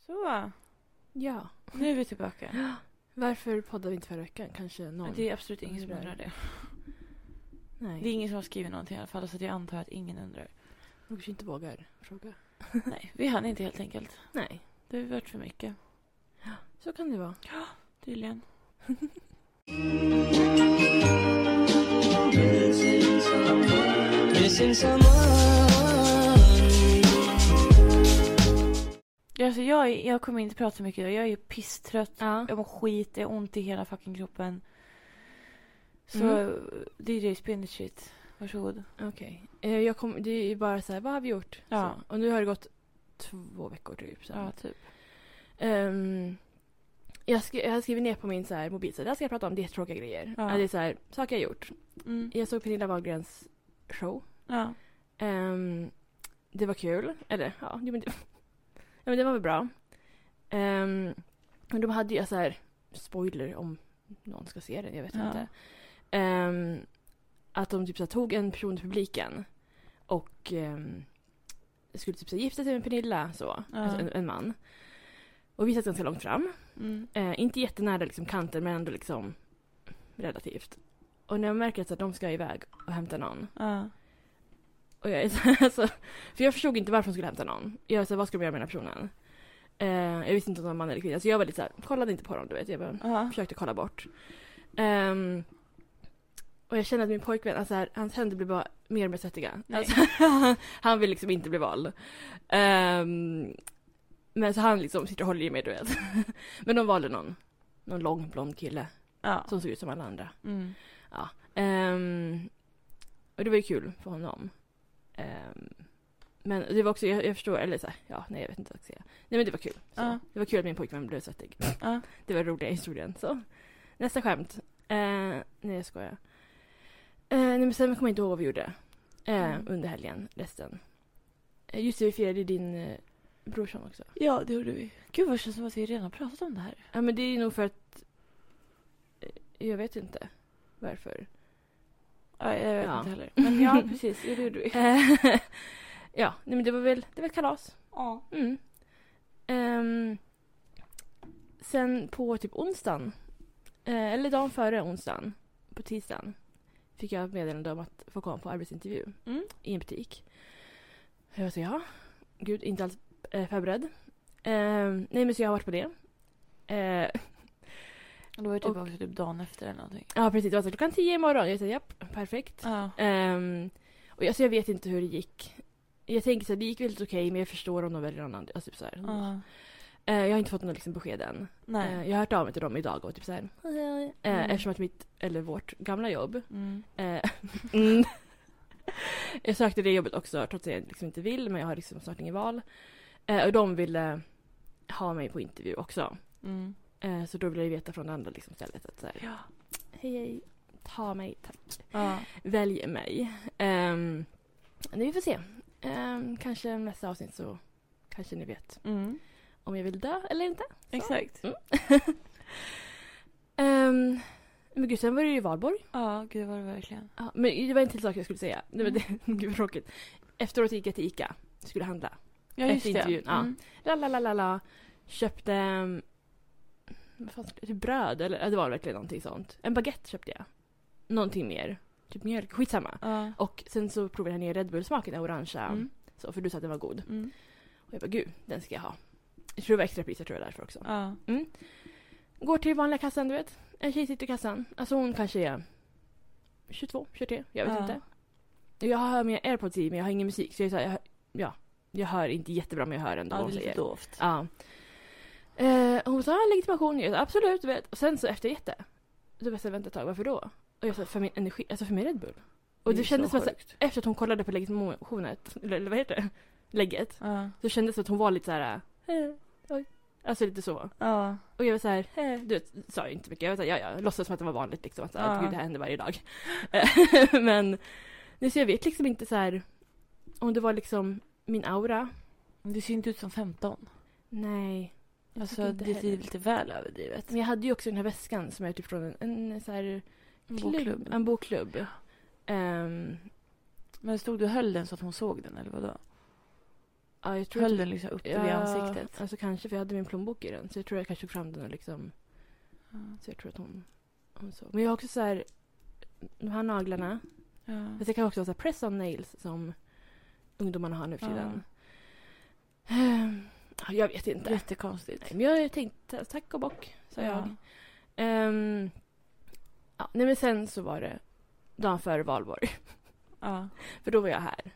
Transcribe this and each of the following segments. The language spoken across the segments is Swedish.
Så, Ja. nu är vi tillbaka. Varför poddade vi inte förra veckan? Kanske någon? Det är absolut ingen som undrar det. Nej, Det är ingen som har skrivit någonting i alla fall så att jag antar att ingen undrar. de kanske inte vågar fråga. Nej, vi hann inte helt enkelt. Nej, Det har varit för mycket. så kan det vara. Tydligen. Missing someone. Alltså jag, är- jag kommer inte prata så mycket idag. Jag är ju pisstrött. Ja. Jag mår skit. Jag har ont i hela fucking kroppen. Så Mm. DJ Spinner shit. Varsågod. Okej. Eh, jag kom- Det är ju bara så här, vad har vi gjort? Ja. Så. Och nu har det gått två veckor typ. Så. Ja, typ. Ehm, jag, skri- jag har skrivit ner på min så här, mobil, så här, det här ska jag prata om, det är tråkiga grejer. Ja. Eh, Det är så här, saker jag gjort. Mm. Jag såg Pernilla Wahlgrens show. Ja. Ehm, det var kul. Eller ja, jo, men det, ja, men det var väl bra. Um, och de hade ju så här spoiler om någon ska se den, jag vet Ja. inte. Ehm, att de typ så här, tog en person i publiken och ehm, skulle typ så här, gifta sig med Pernilla, så, Ja. alltså en, en man. Och vi satt ganska långt fram. Mm. Eh, inte jättenära liksom, kanten men ändå liksom relativt. Och när jag märker att så här, de ska iväg och hämta någon Ja. och jag är så här, alltså, för jag förstod inte varför hon skulle hämta någon. Jag är så här, vad ska de göra med den här personen? Eh, jag visste inte om det var man eller kvinna. Så jag var lite så här, kollade inte på dem du vet. Jag bara Ja. försökte kolla bort. Ehm, och jag kände att min pojkvän, alltså här, hans händer blev bara mer och mer svettiga. Nej. Alltså, han vill liksom inte bli vald. Ehm, men så han liksom sitter och håller i mig du vet. men de valde någon, någon lång blond kille Ja. som såg ut som alla andra. Mm. Ehm, och det var ju kul för honom. Ehm, men det var också, jag, jag förstår, eller så här, ja, nej jag vet inte vad jag ska säga. Nej men det var kul. Så. Ja. Det var kul att min pojkvän blev svettig. Ja. Det var den roliga historien. Så. Nästa skämt. Eh, nej jag skojar. Eh, nej men sen kommer jag inte ihåg vad vi gjorde. Eh, Mm. Under helgen, resten. Eh, just det, vi firade ju din eh, brorson också. ja, det gjorde vi. Gud vad det känns som att vi redan har pratat om det här. Ja men det är nog för att eh, jag vet inte varför. Ja, jag vet Ja. inte heller. Men ja, precis. Ja, det gjorde vi. Eh, ja, nej men det var väl, det var ett kalas. Ja. Mm. Ehm, sen på typ onsdagen, eh, eller dagen före onsdagen, på tisdagen, fick jag ett meddelande om att få komma på arbetsintervju Mm. i en butik. Jag var så ja, gud, inte alls eh, förberedd. Ehm, nej men så jag har varit på det. Eh, Och Det var ju typ Och- också typ dagen efter eller någonting. ja precis, det var så här, klockan tio imorgon. Jag sa japp, perfekt. Ja. Ehm, och alltså jag vet inte hur det gick. Jag tänker så här, det gick väldigt okej men jag förstår om de väljer någon annan. Alltså, typ så här. Ja. Eh, jag har inte fått något liksom, besked än. Nej. Eh, jag har hört av mig till dem idag och typ så här. "Hej, hej." Eh, Mm. Eftersom att mitt, eller vårt, gamla jobb. Mm. Eh, mm. jag sökte det jobbet också trots att jag liksom inte vill men jag har liksom snart inget val. Eh, och de ville ha mig på intervju också. Mm. Eh, så då ville jag veta från det andra liksom, stället att så här, Ja. hej hej, ta mig tack Ja. välj mig. Um, vi får se. Ehm, kanske nästa avsnitt så kanske ni vet Mm. om jag vill dö eller inte. Exakt. Ehm, men gud, sen var det ju valborg. Ja, gud var det verkligen. Ja, men det var en till sak jag skulle säga. Nej, men det, gud vad tråkigt. Efteråt gick jag till Ica. Skulle handla. Ja, Efter just det. intervjun, ja. Mm. La, la, la, la, la. Köpte... ehm, Vad fan skulle jag... Typ bröd eller? Ja, det var verkligen någonting sånt. En baguette köpte jag. Någonting mer. Typ mjölk. Skitsamma. Ja. Och sen så provade jag nya Red Bull-smaken, den orangea. Mm. Så, för du sa att den var god. Mm. Och jag bara, gud, den ska jag ha. Jag tror det var extra priser tror jag därför också. Ja. Går till vanliga kassan, du vet. En tjej sitter i kassan. Alltså hon kanske är 22, 23, jag vet Ja. inte. Jag har mina airpods i men jag har ingen musik. Så jag, är så här, jag, hör, ja, jag hör inte jättebra men jag hör ändå ja, det är vad hon lite säger. dovt. Ja. Eh, hon sa ah, legitimation, jag sa absolut, du vet. Och sen så efter jätte. Då började jag vänta ett tag, varför då? Och jag sa för min energi, alltså för min Red Bull. Och det, är så kändes som att så- sjukt. efter att hon kollade på legitimationet, eller eller vad heter det? Lägget. Ja. Så kändes det att hon var lite så här. Eh, oj. Alltså lite så. Ja. Och jag var så här, eh, du vet, sa ju inte mycket. Jag var så här, ja, ja, låtsas som att det var vanligt liksom. Att, så här, Ja. gud, det här händer varje dag. Eh, Men, nej, så jag vet liksom inte så här om det var liksom min aura. Men Det ser ju inte ut som 15. Nej. jag tycker Alltså, inte det heller. ser lite väl överdrivet. Men jag hade ju också den här väskan som är typ från en, en så här En klubb- Mm. bokklubb. En bokklubb. Ehm, Men stod du och höll den så att hon såg den eller vadå? Ja, jag tror Höll typ- den liksom uppe vid ja, ansiktet. Alltså kanske, för jag hade min plånbok i den. Så jag tror jag kanske tog fram den och liksom... Så jag tror att hon... hon så. Men jag har också så här... De här Mm. naglarna. Ja. Fast det kan också vara så här press-on nails som ungdomarna har nu för Ja. tiden. Ehm, Jag vet inte. Jättekonstigt. Nej, men jag tänkte tack och bock, sa jag. Ehm, ja, nej, men sen så var det dagen före valborg. Ja. För då var jag här. Och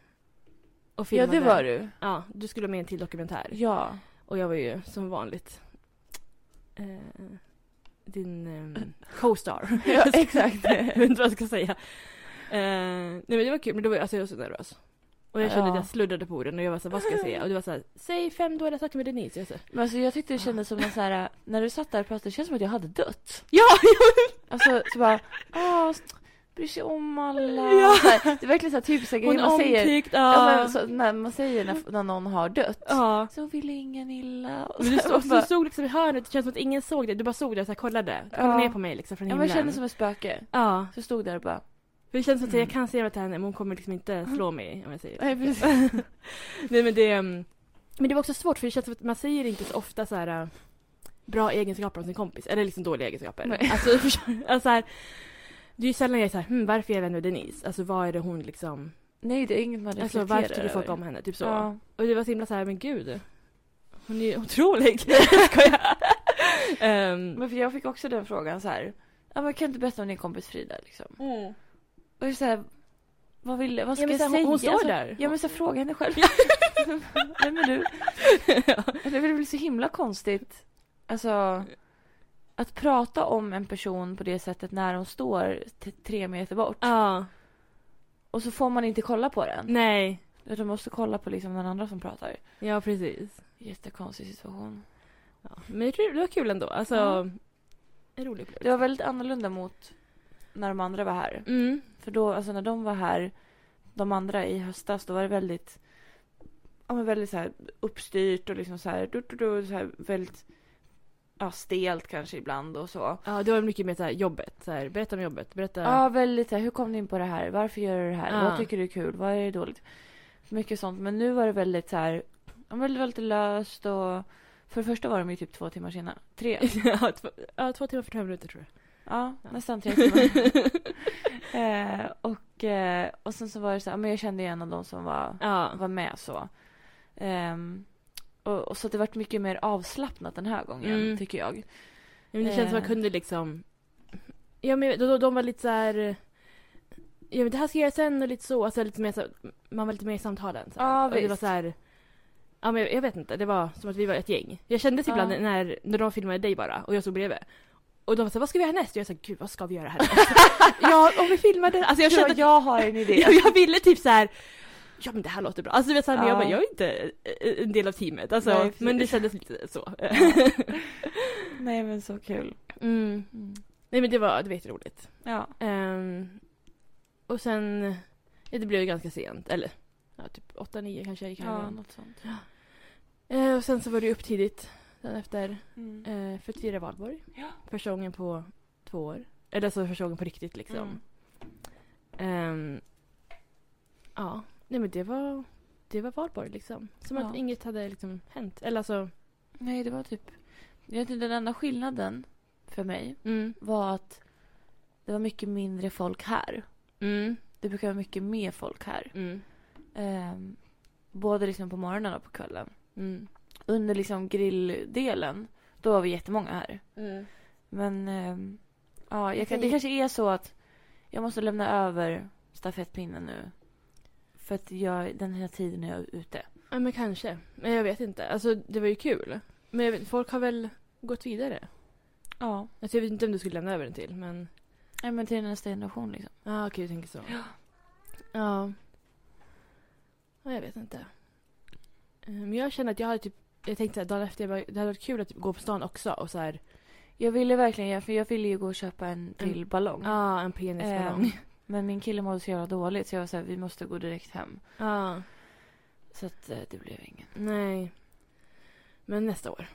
ja, filmade. det var du. Ja, du skulle med i en till dokumentär. Ja. Och jag var ju som vanligt eh, din eh, co-star. Ja, exakt. jag vet inte vad jag ska säga. Eh, nej men det var kul, men då var jag, alltså, jag var så nervös. Och jag kände Ja. att jag sluddade på orden och jag var såhär, vad ska jag säga? Och du var såhär, säg fem dåliga saker med Denise. Jag sa, Men alltså, jag tyckte det kändes som en så här, när du satt där och pratade, det känns som att jag hade dött. ja! Alltså så bara, ah, st- bryr sig om alla. Ja. Så här, Det är verkligen så här, typ så här Hon grejer man säger. omtyckt, ja. Ja, men, så, när man säger när, när någon har dött. ja. Så vill ingen illa. Och Men du, så här, stod, bara- du stod liksom i hörnet, det känns som att ingen såg dig. Du bara såg det, så här, kollade. Du kollade Ja. ner på mig liksom från ja, men himlen. jag kände som ett spöke. Ja, Så jag stod där och bara, för det känns som att jag Mm. kan säga det till henne men hon kommer liksom inte slå mig om jag säger det. nej precis. Nej men det... mm, Men det var också svårt för det känns som att man säger inte så ofta så här äh, bra egenskaper om sin kompis. Eller liksom dåliga egenskaper. Nej. Alltså, förstår- alltså här, det är ju sällan jag är så här, hm, varför är jag vän med Denise? Alltså vad är det hon liksom... Nej, det är inget man reflekterar Alltså varför tycker folk över. om henne? Typ så. Ja. Och det var så himla så här, men gud. Hon är ju otrolig. Jag skojar. Ehm, Men för jag fick också den frågan så här. Ja, men kan du inte berätta om din kompis Frida liksom? Och jag är så här, vad vill vad ska Ja, men jag så här, säga? hon- hon står Alltså, där. Ja men så här, fråga henne själv. Vem är du? Det är väl så himla konstigt. Alltså att prata om en person på det sättet när hon står t- tre meter bort. Ja, Och så får man inte kolla på den. nej. Utan måste kolla på liksom den andra som pratar. Ja, precis. Jättekonstig situation. Ja. Men det det var kul ändå. Alltså, Ja. en rolig Det upplevelse. var väldigt annorlunda mot när de andra var här. Mm. För då, alltså när de var här, de andra i höstas, då var det väldigt, ja men väldigt så här uppstyrt och liksom så här, du, du, du, så här väldigt, ja stelt kanske ibland och så. Ja, det var mycket mer så här, jobbet. Så här, berätta om jobbet. Berätta. Ja, väldigt så här, hur kom du in på det här? Varför gör du det här? Ja. Vad tycker du är kul? Vad är det dåligt? Mycket sånt. Men nu var det väldigt så här, ja men det var lite löst och för det första var de ju typ två timmar sena. Tre. ja, två, ja, två timmar 45 minuter tror jag. Ja, Ja. nästan tre timmar. eh, och, eh, och sen så var det så här, men jag kände ju en av dem som var Ja. var med så. Ehm, och, och så att det varit mycket mer avslappnat den här gången, Mm. tycker jag. Men det känns som att man Eh. kunde liksom... Ja, men de, de var lite så här... Ja, men det här ska jag göra sen och lite så. Alltså, lite mer så man var lite mer i samtalen. Så här. Ja, och det visst. var så här... Ja, men jag, jag vet inte. Det var som att vi var ett gäng. Jag kände Ja. ibland när, när de filmade dig bara och jag stod bredvid. Och de var så här, vad ska vi göra härnäst? Och jag sa, gud vad ska vi göra härnäst? ja, om vi filmar den. Alltså jag Jag, kände jag, att har en idé. jag, jag ville typ så här. Ja men det här låter bra. Alltså du vet, så här, men jag, Ja. bara, jag är inte eh, en del av teamet. Alltså, Nej, precis. men det kändes lite så. Nej men så kul. Mm. Nej men det var, det var jätteroligt. Ja. Ehm, och sen, ja, det blev ju ganska sent. Eller ja, typ 8-9 kanske jag gick ja, härifrån. något sånt. Eh, och sen så var det ju upp tidigt sen efter Mm. eh, för att fira valborg. Ja. Första gången på två år. Eller alltså första gången på riktigt liksom. Mm. Ehm, ja, nej men det var, det var valborg liksom. Som att Ja. inget hade liksom hänt. Eller alltså, Nej, det var typ... Jag vet inte, den enda skillnaden för mig mm, var att det var mycket mindre folk här. mm, Det brukar vara mycket mer folk här. mm, Ehm, både liksom på morgonen och på kvällen. mm. Under liksom grilldelen, då var vi jättemånga här. Men ehm, ja, jag kan, det kanske är så att jag måste lämna över stafettpinnen nu. För att jag, den här tiden är jag ute. Ja men kanske. Men jag vet inte. Alltså det var ju kul. Men jag vet, folk har väl gått vidare. Ja. Alltså, jag vet inte om du skulle lämna över den till men. Nej, men till nästa generation liksom. Ja ah, okej du tänker så. Ja. Ja. jag vet inte. Eh, Men jag känner att jag hade typ, jag tänkte såhär dagen efter, jag bara, det hade varit kul att typ gå på stan också och såhär, Jag ville verkligen göra, för jag ville ju gå och köpa en till Mm. ballong. ja ah, en penisballong. Ehm, men min kille mådde så jävla dåligt så jag var såhär, vi måste gå direkt hem. Ja, Så att eh, det blev ingen. nej. Men nästa år.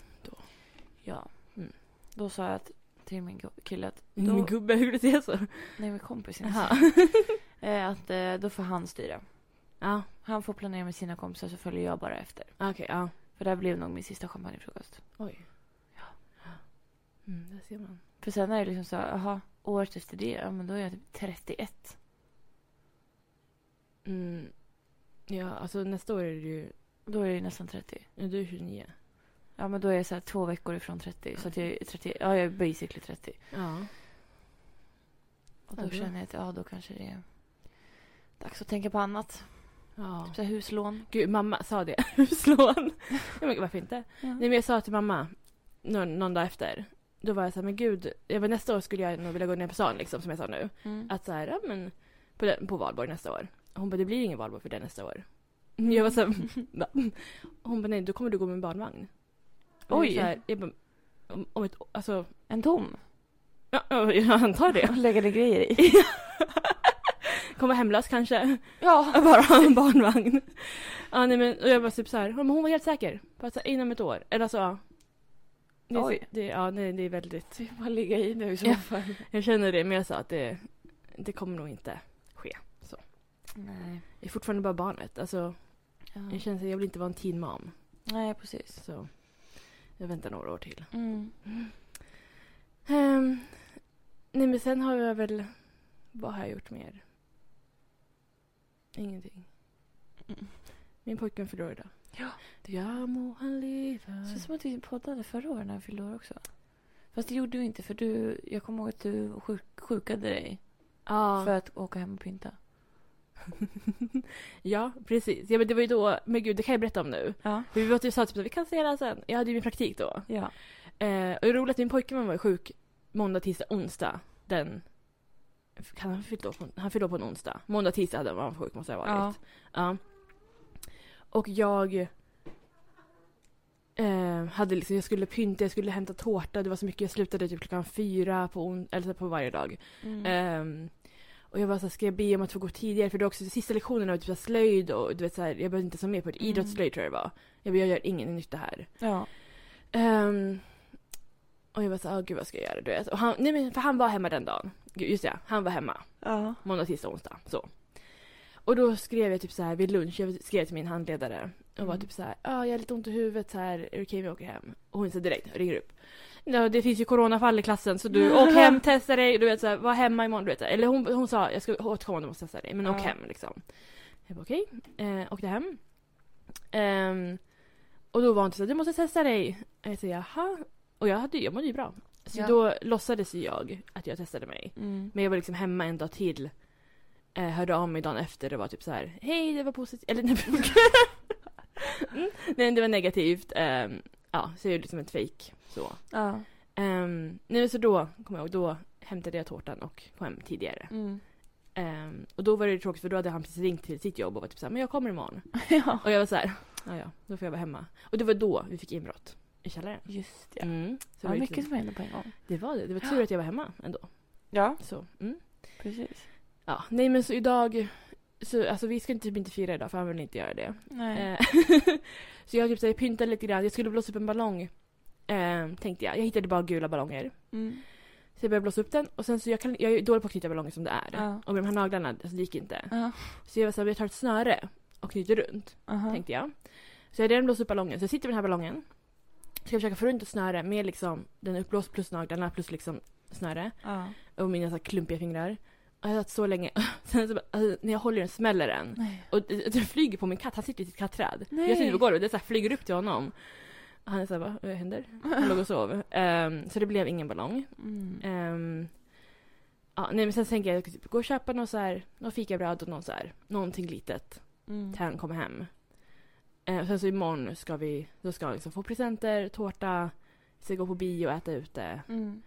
Ja. Mm. Då sa jag att, till min gu- kille att, då, Min gubbe, hur du säger så. nej min kompis inte. Jaha. Eh, att eh, då får han styra. Ja, Ja, Han får planera med sina kompisar så följer jag bara efter. okej. ja. För det här blev nog min sista champagnefrukost. Oj. Mm, där ser man. För sen är det liksom så, här, jaha, året efter det, ja men då är jag typ 31. Mm. Ja, alltså nästa år är du ju... Då är jag ju nästan 30. Ja, du är 29. Ja men då är jag så här två veckor ifrån 30. Så att jag är 30, ja jag är basically 30. Ja. Och då Ja, det var- känner jag att ja, då kanske det är dags att tänka på annat. ja. Så här, huslån. Gud, mamma sa det. Huslån. Jag bara, varför inte? Nej, men jag sa till mamma någon, någon dag efter. Då var jag så här, men gud. Jag bara, nästa år skulle jag nog vilja gå ner på stan liksom, som jag sa nu. Mm. Att så här, ja men. På, den, på valborg nästa år. Hon bara, det blir ingen valborg för det nästa år. Jag var så här, va? Hon bara, nej då kommer du gå med en barnvagn. Och Oj. Jag, var så här, jag bara, om, om ett, alltså. En tom. Ja, ja, jag antar det. Och lägga det grejer i. Kommer hemlös kanske. ja. Jag bara har en barnvagn. Ja, nej, men, och jag var typ så här, "Ja, men hon var helt säker. Bara så här, inom ett år. Eller så, ja. Det, är- Oj. Det, ja, nej, det är väldigt. Det är bara att ligga i nu i så Ja. fall. Jag känner det, men jag sa att det, det kommer nog inte ske. Nej. Jag är fortfarande bara barnet. Alltså, Ja. jag känner att jag vill inte vara en teen mom. Nej, precis. Så jag väntar några år till. Mm. Ehm, nej, men sen har jag väl... Vad har jag gjort mer? Ingenting. Mm. Min pojkvän fyller år idag. Ja. Ja, må han leva. Det känns som att vi poddade förra året när jag fyllde år också. Fast det gjorde du inte för du, jag kommer ihåg att du sjuk, sjukade dig Ja. för att åka hem och pynta. Ja, precis. Ja, men det var ju då, men gud, det kan jag berätta om nu. Ja. Vi var typ sa typ att vi kan se det här sen. Jag hade ju min praktik då. Ja. Eh, och det är roligt att min pojkvän var ju sjuk måndag, tisdag, onsdag. Den... Kan han fylla på, han fyllde år på en onsdag. Måndag, tisdag hade han varit sjuk måste jag ha varit. Ja. Och jag... Eh, hade liksom, jag skulle pynta, jag skulle hämta tårta. Det var så mycket. Jag slutade typ klockan fyra på, on- eller så på varje dag. Mm. Ehm, och jag bara såhär, ska jag be om att få gå tidigare? För det var också sista lektionerna var typ så här slöjd och du vet såhär, jag behövde inte ta med på ett Mm. idrottsslöjd tror jag det var. Jag bara, jag gör ingen nytta här. ja. Ehm, och jag bara såhär, "Åh, gud vad ska jag göra? Du vet. Och han, nej men för han var hemma den dagen. Gud, just det, han var hemma. Ja. Måndag, tisdag, onsdag. Så. Och då skrev jag typ så här vid lunch, jag skrev till min handledare och var Mm. typ så här, ja jag har lite ont i huvudet så här, är det okej om jag åker hem? Och hon sa direkt, ringer upp. Ja, det finns ju coronafall i klassen så du åk hem, testa dig, du vet så här, var hemma imorgon. Du vet, så här. eller hon, hon sa, jag ska återkomma om du måste testa dig, men åk Ja. hem liksom. Jag bara okej, eh, åkte hem. Ehm, och då var hon typ så här, du måste testa dig. Och jag sa jaha. Och jag, hade, ju- jag mådde ju bra. Så Ja. då låtsades ju jag att jag testade mig. Mm. Men jag var liksom hemma en dag till. Eh, hörde av mig dagen efter och var typ så här: Hej det var positivt. Eller nej, mm, nej det var negativt. Ehm, ja så jag gjorde liksom ett fake så. Ja. Um, nej men så då kommer jag ihåg. Då hämtade jag tårtan och kom hem tidigare. Mm. Ehm, och då var det ju tråkigt för då hade han precis ringt till sitt jobb och var typ såhär men jag kommer imorgon. ja. Och jag var så här, ja ja då får jag vara hemma. Och det var då vi fick inbrott i källaren. Just det. Mm, så Det var var det mycket lite- som hände på en gång. det var det. Det var tur att jag var hemma ändå. Ja, Så, mm. precis. Ja, nej men så idag, så, alltså vi ska inte- typ inte fira idag för han vill inte göra det. Nej. Eh, så jag typ så här, pyntade lite grann, jag skulle blåsa upp en ballong. Eh, tänkte jag, jag hittade bara gula ballonger. Mm. Så jag började blåsa upp den och sen så jag, kan, jag är dålig på att knyta ballonger som det är. Ja. Och med de här naglarna, alltså, det gick inte. Ja. Så jag var såhär, jag tar ett snöre och knyter runt, Aha. tänkte jag. Så jag hade redan blåst upp ballongen, så jag sitter med den här ballongen. Ska försöka få runt ett snöre med liksom den uppblåst plus naglarna plus liksom snöre Ja. och mina så här klumpiga fingrar. Och jag satt så länge. Sen så bara, alltså, när jag håller den smäller den. Nej. Och det- alltså, den flyger på min katt, han sitter i sitt katträd. Nej. Jag sitter på golvet, det så här, flyger upp till honom. Och Han är såhär, vad vad händer? Han låg och sov. Ehm, så det blev ingen ballong. Mm. Ehm, ja, nej men sen tänker jag, jag ska typ gå och köpa någon så här, någon fikabröd och någon så här, någonting litet Mm. till han kommer hem. Ehm, sen så imorgon ska vi, då ska han liksom få presenter, tårta, ska gå på bio och äta ute. Mm.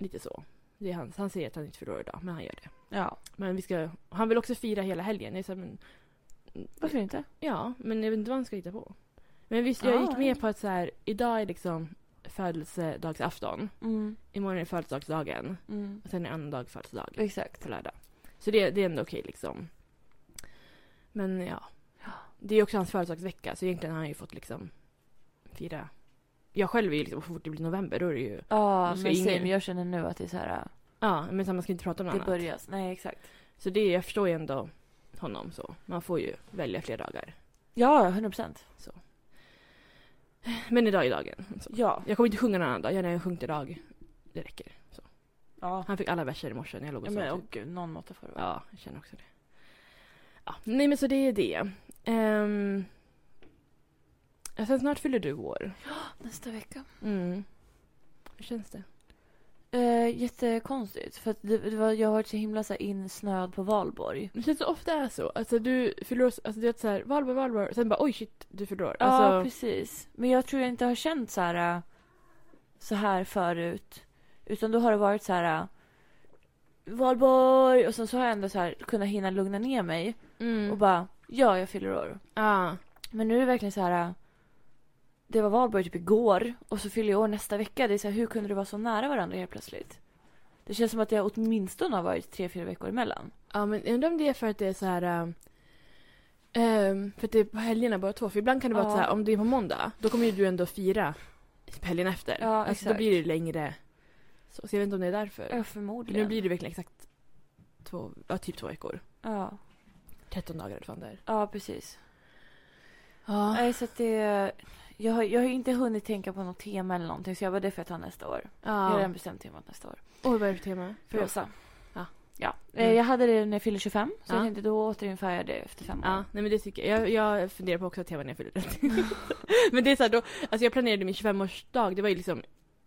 Lite så. Det är han, han säger att han inte fyller år idag, men han gör det. Ja, Men vi ska, han vill också fira hela helgen. Jag sa, men, varför inte? ja, men jag vet inte vad han ska hitta på. Men visst, jag Ah, gick ja. med på att så här, idag är liksom födelsedagsafton. Mm. Imorgon är födelsedagsdagen. Mm. Och sen är annandag födelsedag. Exakt. På lördag. Så det, det är ändå okej liksom. Men ja. Det är också hans födelsedagsvecka. Så egentligen har han ju fått liksom fira. Jag själv är ju liksom, så fort det blir november då är det ju. Ja, Nu ska men ingen- same, jag känner nu att det är så här, Ja, men så här, man ska inte prata om något det annat. börjas. Nej, exakt. Så det, jag förstår ju ändå honom så. Man får ju välja fler dagar. Ja, 100 procent. Men idag är dagen. Så. Ja. Jag kommer inte sjunga någon annan dag. Jag har sjungit idag. Det räcker. Så. Ja. Han fick alla verser i morse när jag låg ja och men sov. typ. åh gud, någon måtta får det vara. Ja, jag känner också det. Ja, nej men så det är det. Um, sen snart fyller du år. Nästa vecka. Mm. Hur känns det? Eh, jättekonstigt. För att det, det var, jag har varit så himla så här, insnöad på valborg. Det känns så ofta är så. Alltså du fyller år, alltså du vet såhär valborg, valborg. Sen bara oj shit, du fyller år. ja, Alltså, precis. Men jag tror jag inte har känt så här, äh, så här förut. Utan då har det varit så här... äh, Valborg! Och sen så har jag ändå så här, kunnat hinna lugna ner mig mm. och bara ja, jag fyller år. Ja. Men nu är det verkligen så här... äh, Det var valborg typ igår och så fyller jag år nästa vecka. Det är så här, hur kunde det vara så nära varandra helt plötsligt? Det känns som att jag åtminstone har varit tre, fyra veckor emellan. Ja men jag undrar om det är för att det är så här. ehm, ehm, för att det är på helgerna bara två. För ibland kan det vara Ja. så här, om det är på måndag, då kommer ju du ändå fira typ helgen efter. Ja, alltså, då exakt. blir det längre. Så, så jag vet inte om det är därför. Ja, Men nu förmodligen. blir det verkligen exakt två, ja, typ två veckor. Ja, 13 dagar eller fan det är. Äh, ja precis. Ja. Nej, så att det... Jag har, jag har ju inte hunnit tänka på något tema eller någonting så jag bara det får jag ta nästa år. Jag Ah. har redan bestämt temat nästa år. Oj, vad är det för tema? Förlåt. Rosa. Ja. ja. Mm. Ah. Eh, Jag hade det när jag fyllde 25 så Ja. jag tänkte då återinför jag det efter fem år. Ja, nej men det tycker jag. Jag, jag funderar på också att tema när jag fyller 30. men det är så här, då, alltså jag planerade min 25-årsdag, det var ju liksom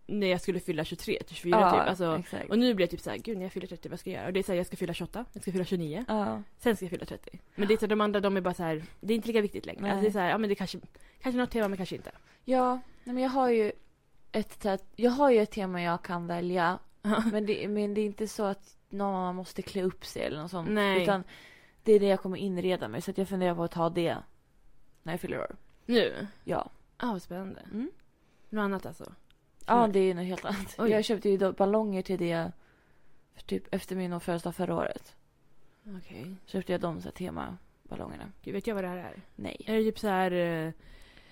när jag skulle fylla 23 till 24 Ja, typ. Alltså, exakt. och nu blir jag typ så här, gud när jag fyller 30 vad ska jag göra? Och det är så här, jag ska fylla 28, jag ska fylla 29, Ja. sen ska jag fylla 30. Men det är så här, de andra de är bara så här, det är inte lika viktigt längre. Nej. Alltså det är så här, ja men det kanske, kanske något tema men kanske inte. Ja, nej, men jag har ju ett, tät- jag har ju ett tema jag kan välja. Men det, men det är inte så att någon annan måste klä upp sig eller något sånt. Nej. Utan det är det jag kommer inreda mig så att jag funderar på att ta det när jag fyller år. nu? Ja. Ja, vad spännande. Mm. Något annat alltså? Ja, Mm. det är något helt annat. Oj. Jag köpte ju då ballonger till det för typ efter min födelsedag förra året. Okej. Så köpte jag de så här temaballongerna. Gud, vet jag vad det här är? Nej, Är det typ så här eh,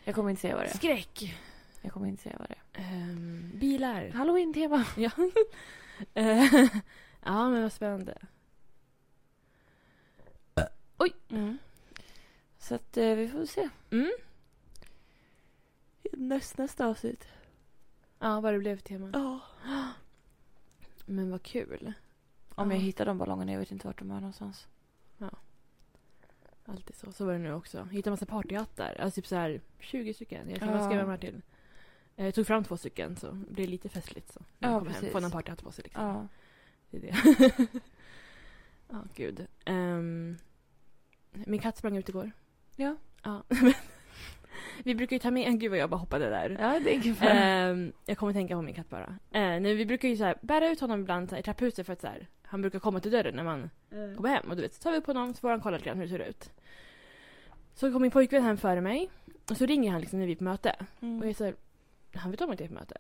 jag kommer inte säga vad det är. skräck? Jag kommer inte säga vad det Ehm, är. bilar? Halloween-tema. Ja. Eh, ja, men vad spännande. Mm. Så att eh, vi får se. Mm. Näst, nästa avsnitt. Ja, vad det blev för tema. Ja. Men vad kul. Om jag Ja. hittar de ballongerna. Jag vet inte vart de är någonstans. Alltid så. Så var det nu också. Hittade massa partyhattar. Alltså typ så här 20 stycken. Jag tror Ja. jag skrev de här till. Eh, Jag tog fram två stycken så det blir lite festligt så. när man Ja, kommer hem. precis. Får någon partyhatt på sig liksom. Ja. Det är det. Ja, gud. Ehm, min katt sprang ut igår. Ja. Ja. Vi brukar ju ta med... Gud vad jag bara hoppade där. Ja, det är ingen Ehm, jag kommer tänka på min katt bara. Eh, nej, vi brukar ju så här bära ut honom ibland så här, i trapphuset för att så här, han brukar komma till dörren när man kommer hem. Och du vet, så tar vi upp honom så får han kolla lite grann hur det ser ut. Så kom min pojkvän hem före mig och så ringer han liksom när vi är på möte. mm. Och jag säger han vet om att jag är på möte.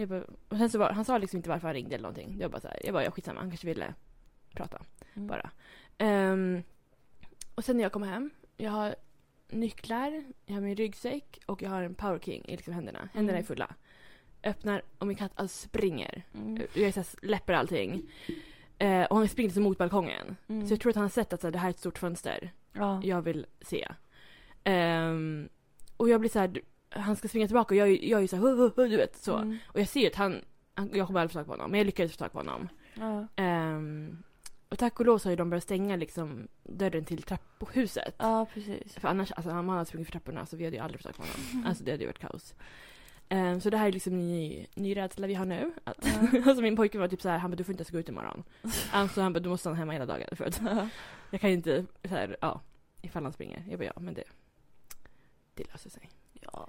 Jag bara, och sen så var, han sa liksom inte varför han ringde eller någonting. Jag bara så här, jag bara, jag skitsamma, han kanske ville prata Mm. bara. Ehm, och sen när jag kom hem, jag har nycklar, jag har min ryggsäck och jag har en power king i liksom händerna. Händerna Mm. är fulla. Öppnar och min katt alltså springer. Mm. Jag är så här, släpper allting. Eh, och han springer så mot balkongen. Mm. Så jag tror att han har sett att så här, det här är ett stort fönster. Ja. Jag vill se. Ehm, och jag blir så här, du- han ska springa tillbaka och jag, är- jag är ju så här, "Hu, hu, hu", du vet så. Mm. Och jag ser ju att han, han jag kommer aldrig få tag på honom, men jag lyckades få tag på honom. Ja. Ehm, och tack och lov så har ju de börjat stänga liksom dörren till trapphuset. ja, precis. För annars, alltså om han hade sprungit för trapporna så vi hade ju aldrig fått tag på Mm. honom. Alltså det hade ju varit kaos. Ehm, så det här är liksom en ny, ny rädsla vi har nu. Att, alltså min pojke var typ så här, han bara du får inte ens gå ut imorgon. Alltså han bara du måste stanna hemma hela dagen för att jag kan ju inte så här, ja, ifall han springer. Jag bara ja, men det, det löser sig. Ja.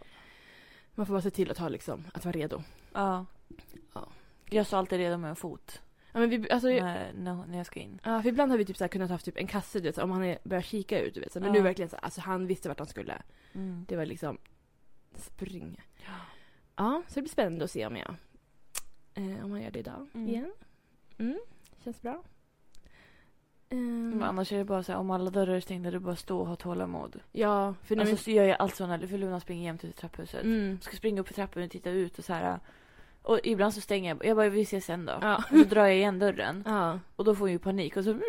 Man får bara se till att ha liksom, att vara redo. Ja. Ja. Jag står alltid redo med en fot Ja men vi, alltså när, när, när jag ska in. Ja, för ibland har vi typ så här kunnat haft typ en kasse, du vet, så om han är, börjar kika ut. Du vet, så, men Ja. nu verkligen så här, alltså han visste vart han skulle. Mm. Det var liksom spring. Ja, så det blir spännande att se om jag eh, om han gör det idag Mm. igen. Mm, känns bra. Ehm, Men annars är det bara så här, om alla dörrar är stängda, det är bara att stå och ha tålamod. ja, för nu... alltså så gör jag allt sådana, för Luna springer jämt ut i trapphuset. mm, Ska springa upp för trappan och titta ut och så här. Och ibland så stänger jag, jag bara vi ses sen då. ja, Och så drar jag igen dörren ja, och då får hon ju panik och så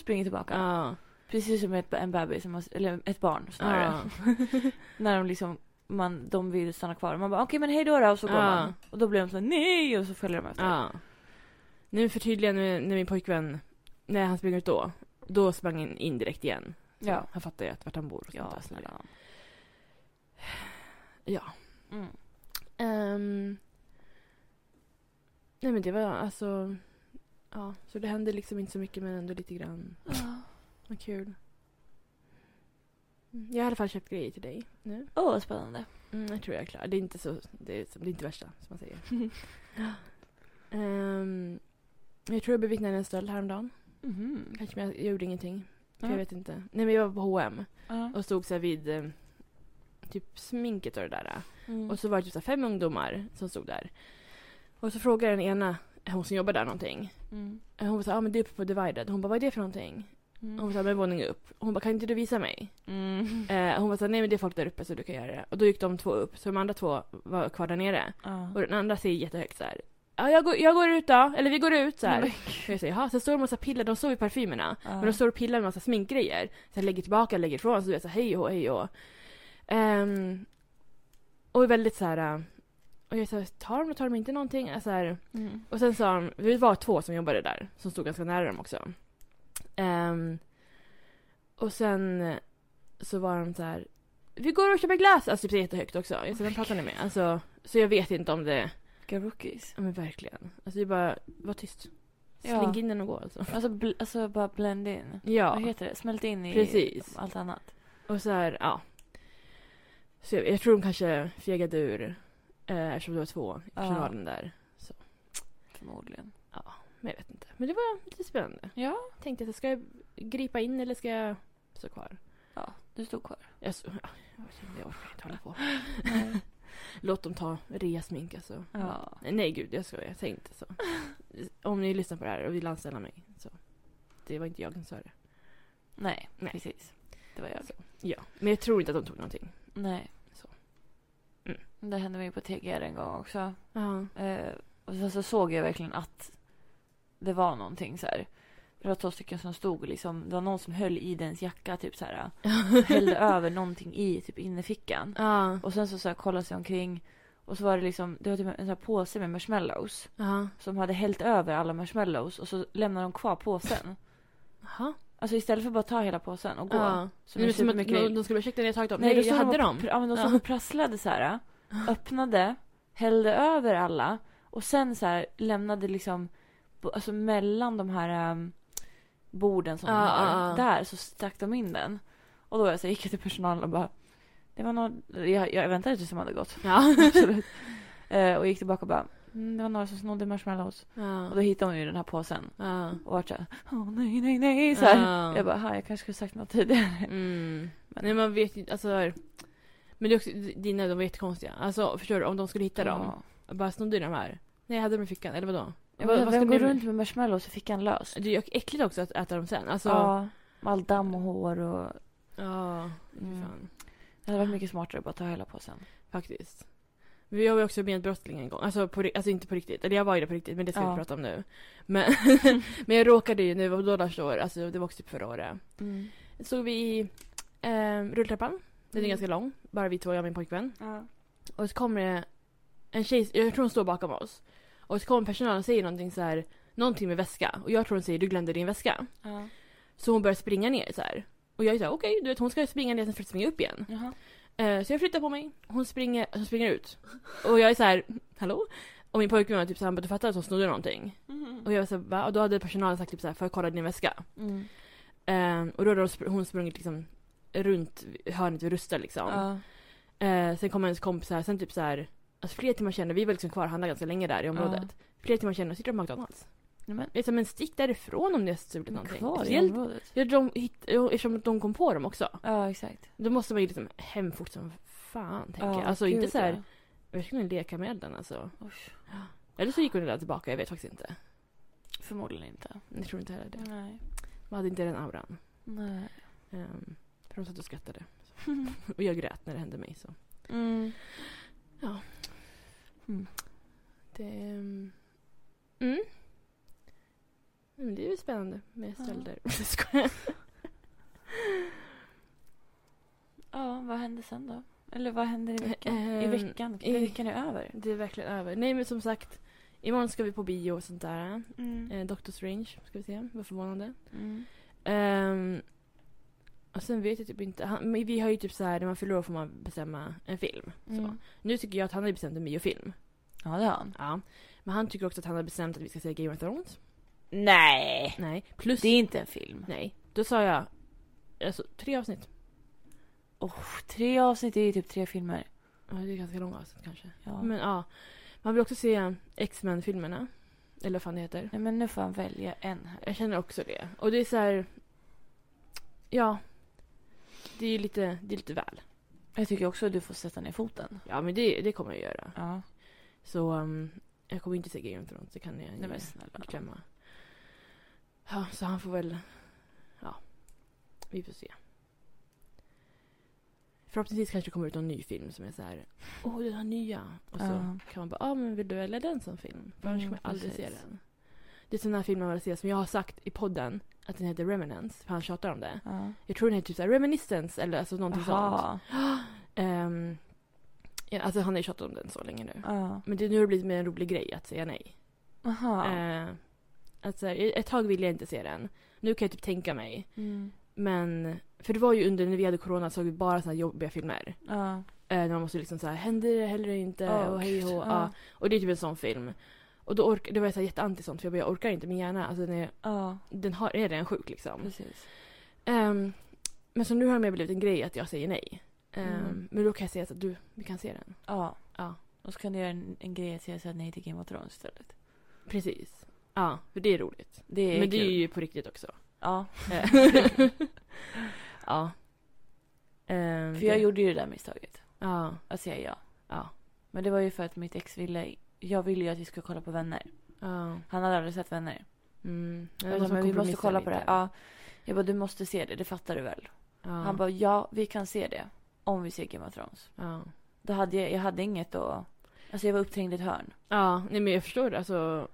springer tillbaka. ja. Precis som ett, en bebis, som måste, eller ett barn snarare. Ja. När de liksom, man, de vill stanna kvar. Man bara okej men hej då då och så går Ja. man. Och då blir de så här, nej och så följer de efter. Ja. Nu för tydligen när när min pojkvän, när han sprang ut då, då sprang han in direkt igen. Så Ja. Han fattar ju att vart han bor och sånt Ja, där, snälla. nån. Ja. Mm. Ehm, nej men det var alltså, ja. Så det hände liksom inte så mycket men ändå lite grann. Vad kul. Mm, Jag har i alla fall köpt grejer till dig nu. Åh, vad spännande. Mm, jag tror jag är klar. Det är inte så, det är, det är inte värsta som man säger. Ehm, jag tror jag bevittnade en stöld häromdagen. Mhm. Kanske men jag, jag gjorde ingenting. För Ja. Jag vet inte. Nej men jag var på H&M Ja. och stod så här vid eh, typ sminket och det där. Mm. Och så var det typ så här fem ungdomar som stod där. Och så frågade den ena, hon som jobbar där någonting. Mm. Eh, Hon sa, ja ah, men det är uppe på Divided. Hon bara, vad är det för någonting? Mm. Hon sa, men våning upp. Hon bara, kan inte du visa mig? Mm. Eh, hon bara, så här, nej men det är folk där uppe så du kan göra det. Och då gick de två upp, så de andra två var kvar där nere. Ja. Och den andra säger jättehögt så här. Ja, jag går, jag går ut då, eller vi går ut så här. Men Och jag säger, jaha, så står det en massa piller, de står vid parfymerna. Ja. Men de står och pillar med massa sminkgrejer. Sen lägger tillbaka, lägger ifrån. Så du vet så här, hej och hej och. Ehm, och är väldigt så här. äh, Och jag sa, tar de och tar de inte någonting? Äh, Så här. Mm. Och sen sa de, vi var två som jobbade där. Som stod ganska nära dem också. Ehm, och sen så var de så här. Vi går och köper glass! Alltså typ så jättehögt också. Jag sa, Oh vem pratar ni med? Alltså, så jag vet inte om det... Vilka rookies. Ja, Men verkligen. Alltså jag bara, var tyst. Ja. Släng in den och gå alltså. Alltså, bl- alltså bara blend in. Ja. Vad heter det? Smält in i Precis. allt annat. Och så här, ja. Så jag, jag tror de kanske fegade ur eh, eftersom det var två i Ja. personalen där. Förmodligen. Men jag vet inte. Men det var lite spännande. Ja. Tänkte jag, så här, ska jag gripa in eller ska jag stå kvar? Ja, du stod kvar. Jag, så, ja, jag kände, jag orkar inte hålla på. Låt dem ta reasmink alltså. Ja. Nej gud, jag skojar. Jag tänkte så. Om ni lyssnar på det här och vill anställa mig så. Det var inte jag som sa det. Nej, Nej. precis. Det var jag. Så. Ja, men jag tror inte att de tog någonting. Nej. Så. Mm. Det hände mig på TGR en gång också. Ja. Eh, och sen så såg jag verkligen att det var någonting så här. Det var två stycken som stod och liksom, det var någon som höll i dens jacka typ så här. Hällde över någonting i typ innerfickan. Ja. Och sen så, så här, kollade sig omkring. Och så var det liksom, det var typ en sån här påse med marshmallows. Ja. Som hade hällt över alla marshmallows och så lämnade de kvar påsen. Jaha. Alltså istället för att bara ta hela påsen och gå. Ja. Så Som är det som är att mycket de, de skulle ursäkta när jag tagit dem. Nej, jag hade de och, dem. pr- Ja, men de stod Ja. och prasslade så här. Öppnade, hällde över alla och sen så här lämnade liksom bo- alltså mellan de här ehm, borden som de Ja, har. ja, ja. Där så stack de in den. Och då var jag så här, gick jag till personalen och bara det var någon, jag, jag väntade tills de hade gått. Ja. Absolut. Eh, och gick tillbaka och bara mm, det var några som snodde marshmallows. Och då ja. hittade hon ju den här påsen ja. och vart såhär åh nej nej nej så här. Ja. Jag bara "Ha, jag kanske skulle sagt något tidigare. Mm. Nej, man vet ju inte. Alltså, men det är också, dina de var jättekonstiga. Alltså, förstår du? Om de skulle hitta dem. Ja. Bara snodde de här. Nej, jag hade dem i fickan. Eller vadå? Jag Vad- bara, vad vem ska går du- runt med marshmallows i fickan lös? Det är ju äckligt också att äta dem sen. Alltså, ja. Ja, med all damm och hår och... fy Mm. fan. Det hade varit mycket smartare att bara ta hela påsen. Faktiskt. Men Jag var ju också medbrottsling en gång. Alltså, på, ri- alltså inte på riktigt. Eller jag var ju det på riktigt, men det ska vi Ja. inte prata om nu. Men, men jag råkade ju, nu var då Lars år, alltså det var också typ förra året. Mm. stod vi i eh, rulltrappan. Den är Mm. ganska lång. Bara vi två, jag och min pojkvän. Ja. Och så kommer det en tjej, jag tror hon står bakom oss. Och så kommer personalen och säger någonting så här, någonting med väska. Och jag tror hon säger du glömde din väska. Ja. Så hon börjar springa ner så här. Och jag är såhär okej, du vet hon ska springa ner sen för att springa upp igen. Jaha. Eh, så jag flyttar på mig, hon springer, hon springer ut. Och jag är så här, hallå? Och min pojkvän var typ såhär, du fattar att hon snodde någonting? Och jag var såhär, va? Och då hade personalen sagt typ såhär, får jag kolla din väska? Mm. Eh, och då hade hon spr- hon sprungit liksom runt hörnet vid Rusta liksom. Ja. Eh, sen kom ens kompisar, sen typ så här, alltså flera timmar senare, vi var liksom kvar och handlade ganska länge där i området. Flera timmar senare sitter de på McDonalds. Nej, men, Jag sa, men stick därifrån om ni har stulit de är någonting. kvar i Speciellt- området. ja, de hitt, ja, eftersom de kom på dem också. Ja, exakt. Då måste man ju liksom hem fort som fan, tänker Ja, jag. Alltså inte gud, så här, ja. jag skulle leka med den alltså. Usch. Eller så gick hon redan tillbaka, jag vet faktiskt inte. Förmodligen inte. Jag tror inte heller det. Nej. Man hade inte den auran. Nej. Um, för de satt och skrattade. och jag grät när det hände mig. Så. Mm. Det... ehm, Mm. Men det är ju spännande med Ja. stölder. Ja. hände sen då? Eller vad händer i veckan? I Ehm, veckan? i- Veckan är över. Det är verkligen över. Nej men som sagt, imorgon ska vi på bio och sånt där. Mm. Eh, Doctor Strange ska vi se, vad förvånande. Mm. Ehm, och sen vet jag typ inte, han, men vi har ju typ så här när man förlorar får man bestämma en film. Så. Mm. Nu tycker jag att han har bestämt en biofilm. Ja, det har han. Ja. Men han tycker också att han har bestämt att vi ska se Game of Thrones. Nej! Nej. Plus... Det är inte en film. Nej. Då sa jag, alltså tre avsnitt. Oh, tre avsnitt är ju typ tre filmer. Ja, det är ganska långa avsnitt kanske. Ja. Men ja. Man vill också se X-Men-filmerna. Eller vad fan det heter. Nej, men nu får han välja en här. Jag känner också det. Och det är så här... Ja. Det är ju lite, det är lite väl. Jag tycker också att du får sätta ner foten. Ja, men det, det kommer jag göra. Ja. Så um, jag kommer inte se Game of Thrones. Det kan jag Nej, men ju snälla. glömma. Ja, så han får väl... Ja. Vi får se. Förhoppningsvis kanske det kommer ut någon ny film som är så här... Åh, den här nya! Och så Ja. kan man bara... Ja, ah, men vill du välja den som film? För annars Mm, kommer jag aldrig se precis. den. Det är sån här film man vill se som jag har sagt i podden. Att den heter Remnants. För han tjatar om det. Ja. Jag tror den heter typ så här Reminiscence eller alltså någonting sånt. Jaha. Ehm, ja, alltså han har ju tjatat om den så länge nu. Ja. Men det, nu har det blivit mer en rolig grej att säga nej. Aha. Eh, att så här, ett tag ville jag inte se den. Nu kan jag typ tänka mig. Mm. Men, för det var ju under när vi hade corona såg vi bara såna här jobbiga filmer. Ja. Eh, när man måste liksom så här, händer det heller inte? Ja, och hej och gud. hå. Ja. Ja. Och det är typ en sån film. Och då ork- det var jag så här jätteanti sånt för jag, bara, jag orkar inte min hjärna. Alltså den är, Ja, den har, är redan sjuk liksom. precis. Ehm, men så nu har det mer blivit en grej att jag säger nej. Ehm, Mm. Men då kan jag säga så att du, vi kan se den. Ja. Ja, Och så kan du göra en, en grej att jag säger nej till Game of Thrones istället. precis. Ja, för det är roligt. Det är men det kul. är ju på riktigt också. Ja. Eh. ja. Ehm, För jag det- gjorde ju det där misstaget. Ja, Att säga ja. ja, Men det var ju för att mitt ex ville... Jag ville ju att vi skulle kolla på Vänner. ja. Han hade aldrig sett Vänner. Mm. Ja, Jag bara, det var Alltså, men vi måste kompromissa kolla på det lite. här. Ja. Jag bara, du måste se det. Det fattar du väl? Ja. Han bara, ja, vi kan se det. Om vi ser Game of Thrones. ja. Då hade jag, jag hade inget då. Alltså jag var uppträngd i ett hörn. ja, nej men jag förstår det. Alltså,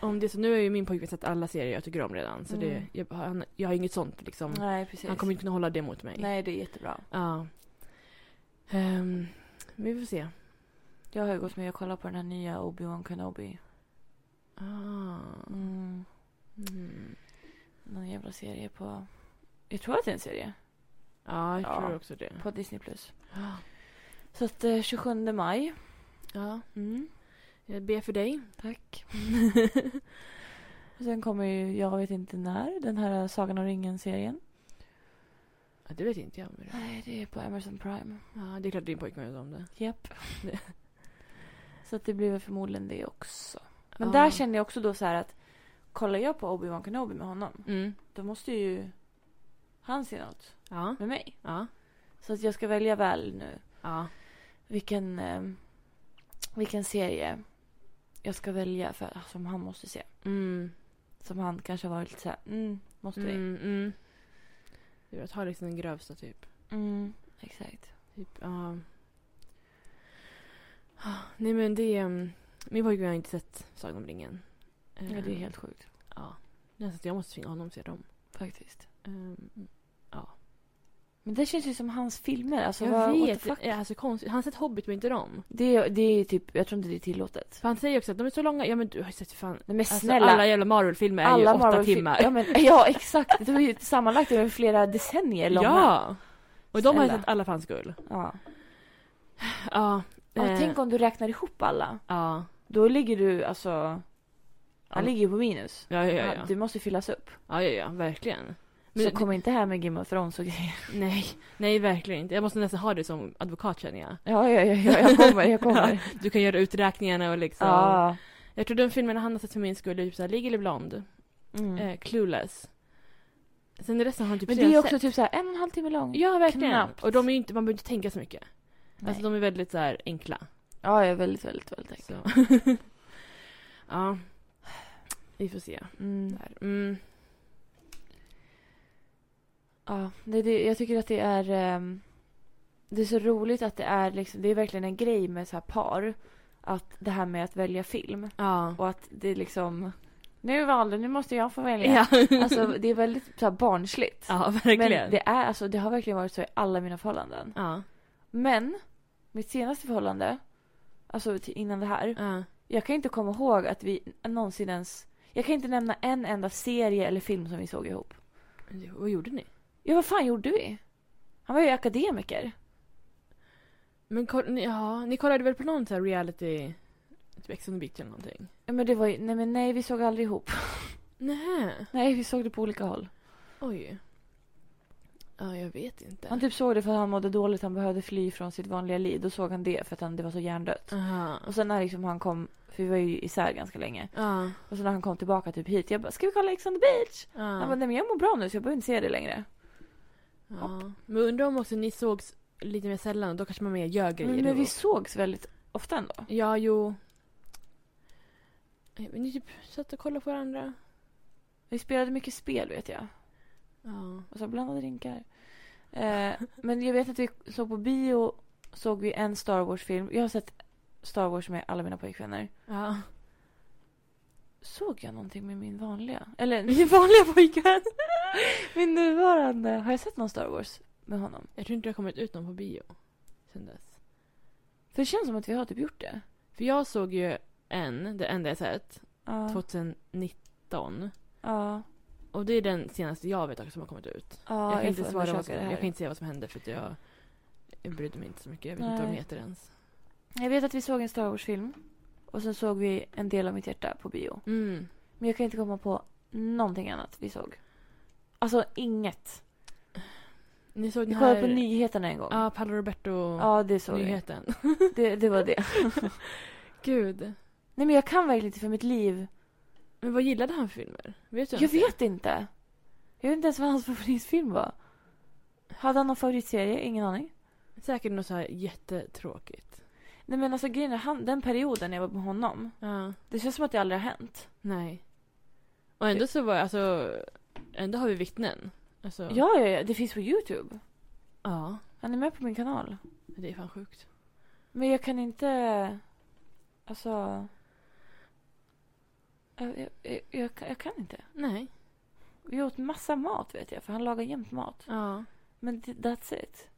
om det är så, nu har ju min pojkvän sett alla serier jag tycker om redan. Så Mm. det, jag, han, jag har inget sånt liksom. Nej, precis. han kommer inte kunna hålla det mot mig. Nej, det är jättebra. Ja. Ehm, vi får se. Jag har ju gått med och kollat på den här nya Obi-Wan Kenobi. Ah. Mm. Mm. Någon jävla serie på... Jag tror att det är en serie. Ja, jag Ja. tror också det. På Disney+. Plus. Ja. Så att eh, 27 maj. Ja, Mm. jag ber för dig. Tack. och sen kommer ju, jag vet inte när, den här Sagan om ringen-serien. Ja, det vet inte jag om det är. Nej, det är på Amazon Prime. Ja, det är klart din pojkvän vet om det. Japp. så att det blir väl förmodligen det också. Men Ja. där känner jag också då så här att kollar jag på Obi-Wan Kenobi med honom, Mm. då måste ju han se något Ja. med mig. Ja. Så att jag ska välja väl nu Ja. vilken, eh, vilken serie jag ska välja för, som han måste se. Mm. Som han kanske har varit lite så här, mm, måste vi? Mm, mm. Det är att ha liksom den grövsta typ. Mm, exakt. typ ja. Ah, Nej men det... um, Min pojkvän har inte sett Sagan om ringen. Ja, det är Ehm, helt sjukt Ja. Nästan så jag måste tvinga honom att se dem. faktiskt. Ehm, Men det känns ju som hans filmer. Alltså, jag vad, what the vet. fuck? ja, Alltså, konstigt. Han har sett Hobbit men inte dem. Det, är- det är typ, jag tror inte det är tillåtet. För han säger också att de är så långa. Ja men du har ju sett för fan. Nej men Alltså, snälla. alla jävla Marvel-filmer är ju åtta Marvel-fil- timmar. Ja, men, ja exakt, det var ju sammanlagt över flera decennier långa. Ja! Och de har ju Snälla. sett alla för hans skull. ja. Ja. Ja, eh, Tänk om du räknar ihop alla. Ja. Då ligger du alltså... Han Ja. ligger ju på minus. Ja, ja, ja. ja. Du måste fyllas upp. Ja, ja, ja, verkligen. Men så kom inte här med Game of Thrones och grejer. Nej, nej verkligen inte. Jag måste nästan ha dig som advokat känner jag. Ja, ja, ja, ja jag kommer, jag kommer. Du kan göra uträkningarna och liksom. ja. Jag tror den filmen han har sett för min skull är typ såhär Legally Blonde, Mm. eh, Clueless. Sen resten har han typ Men det redan är också sett. typ så här en och en halv timme lång. Ja, verkligen. knappt. Och de är ju inte, man behöver inte tänka så mycket. Nej. Alltså de är väldigt såhär enkla. Ja, jag är väldigt, väldigt, väldigt Så. tacksam. ja. Vi får se. Mm. Där. Mm. Ja, det, det, jag tycker att det är... ehm, det är så roligt att det är liksom, det är verkligen en grej med så här par. Att det här med att välja film Ja. och att det liksom... Nu valde, nu måste jag få välja. Ja, Alltså det är väldigt så här, barnsligt. ja Men verkligen. det, är, alltså, det har verkligen varit så i alla mina förhållanden. Ja. Men mitt senaste förhållande, alltså till- innan det här. Ja. Jag kan inte komma ihåg att vi någonsin ens... Jag kan inte nämna en enda serie eller film som vi såg ihop. Vad gjorde ni? Ja, vad fan gjorde vi? Han var ju akademiker. Men koll- ni- ja, ni kollade väl på någon sån här reality, typ Ex on the beach eller någonting? Ja, Men det var ju... Nej, men nej, vi såg aldrig ihop. Nej. Nej, vi såg det på olika håll. Oj. Ja, jag vet inte. Han typ såg det för att han mådde dåligt. Han behövde fly från sitt vanliga liv. Då såg han det för att han, det var så hjärndött. Aha. Och sen när liksom han kom... För vi var ju isär ganska länge. Ja. Och sen när han kom tillbaka typ hit. Jag bara, ska vi kolla Ex on the beach? Han bara, Ja. nej men jag mår bra nu så jag behöver inte se det längre. ja. Men undrar om också ni sågs lite mer sällan och då kanske man mer gör grejer. Men, men vi ihop. sågs väldigt ofta ändå. Ja, jo. Eh, Men ni typ satt och kollade på varandra. Vi spelade mycket spel vet jag. Ja. Och så blandade drinkar. Eh, men jag vet att vi såg på bio, såg vi en Star Wars-film. Jag har sett Star Wars med alla mina pojkvänner. Ja. Såg jag någonting med min vanliga? Eller min vanliga pojkvän? min nuvarande. Har jag sett någon Star Wars med honom? Jag tror inte det har kommit ut någon på bio sen dess. För det känns som att vi har typ gjort det. För jag såg ju en, det enda jag sett, Ja. 2019. Ja. Och det är den senaste jag vet också som har kommit ut. ja jag kan får inte svara vad undersöka som, det här. jag kan inte säga vad som hände för att jag, jag brydde mig inte så mycket. Jag vet inte vad de Nej. heter ens. Jag vet att vi såg en Star Wars-film. Och sen såg vi en del av mitt hjärta på bio. Mm. Men jag kan inte komma på någonting annat vi såg. Alltså inget. Ni såg Vi den kollade på här... nyheterna en gång. Ja, Paolo Roberto Ja, det såg jag. nyheten. Det, det var det. Gud. Nej, men jag kan verkligen inte för mitt liv. Men vad gillade han för filmer? Vet du Jag ens det? vet inte. Jag vet inte ens vad hans favoritfilm var. Hade han någon favoritserie? Ingen aning. Säkert något så här jättetråkigt. Nej, men alltså grejen är, han, den perioden när jag var med honom. Ja. Det känns som att det aldrig har hänt. Nej. Och ändå så var alltså, ändå har vi vittnen. Alltså, Ja, ja, ja. Det finns på Youtube. ja. Han är med på min kanal. Det är fan sjukt. Men jag kan inte... Alltså... Jag, jag, jag, jag, kan- jag kan inte. Nej. Vi åt massa mat vet jag, för han lagar jämt mat. Ja. Men th- that's it.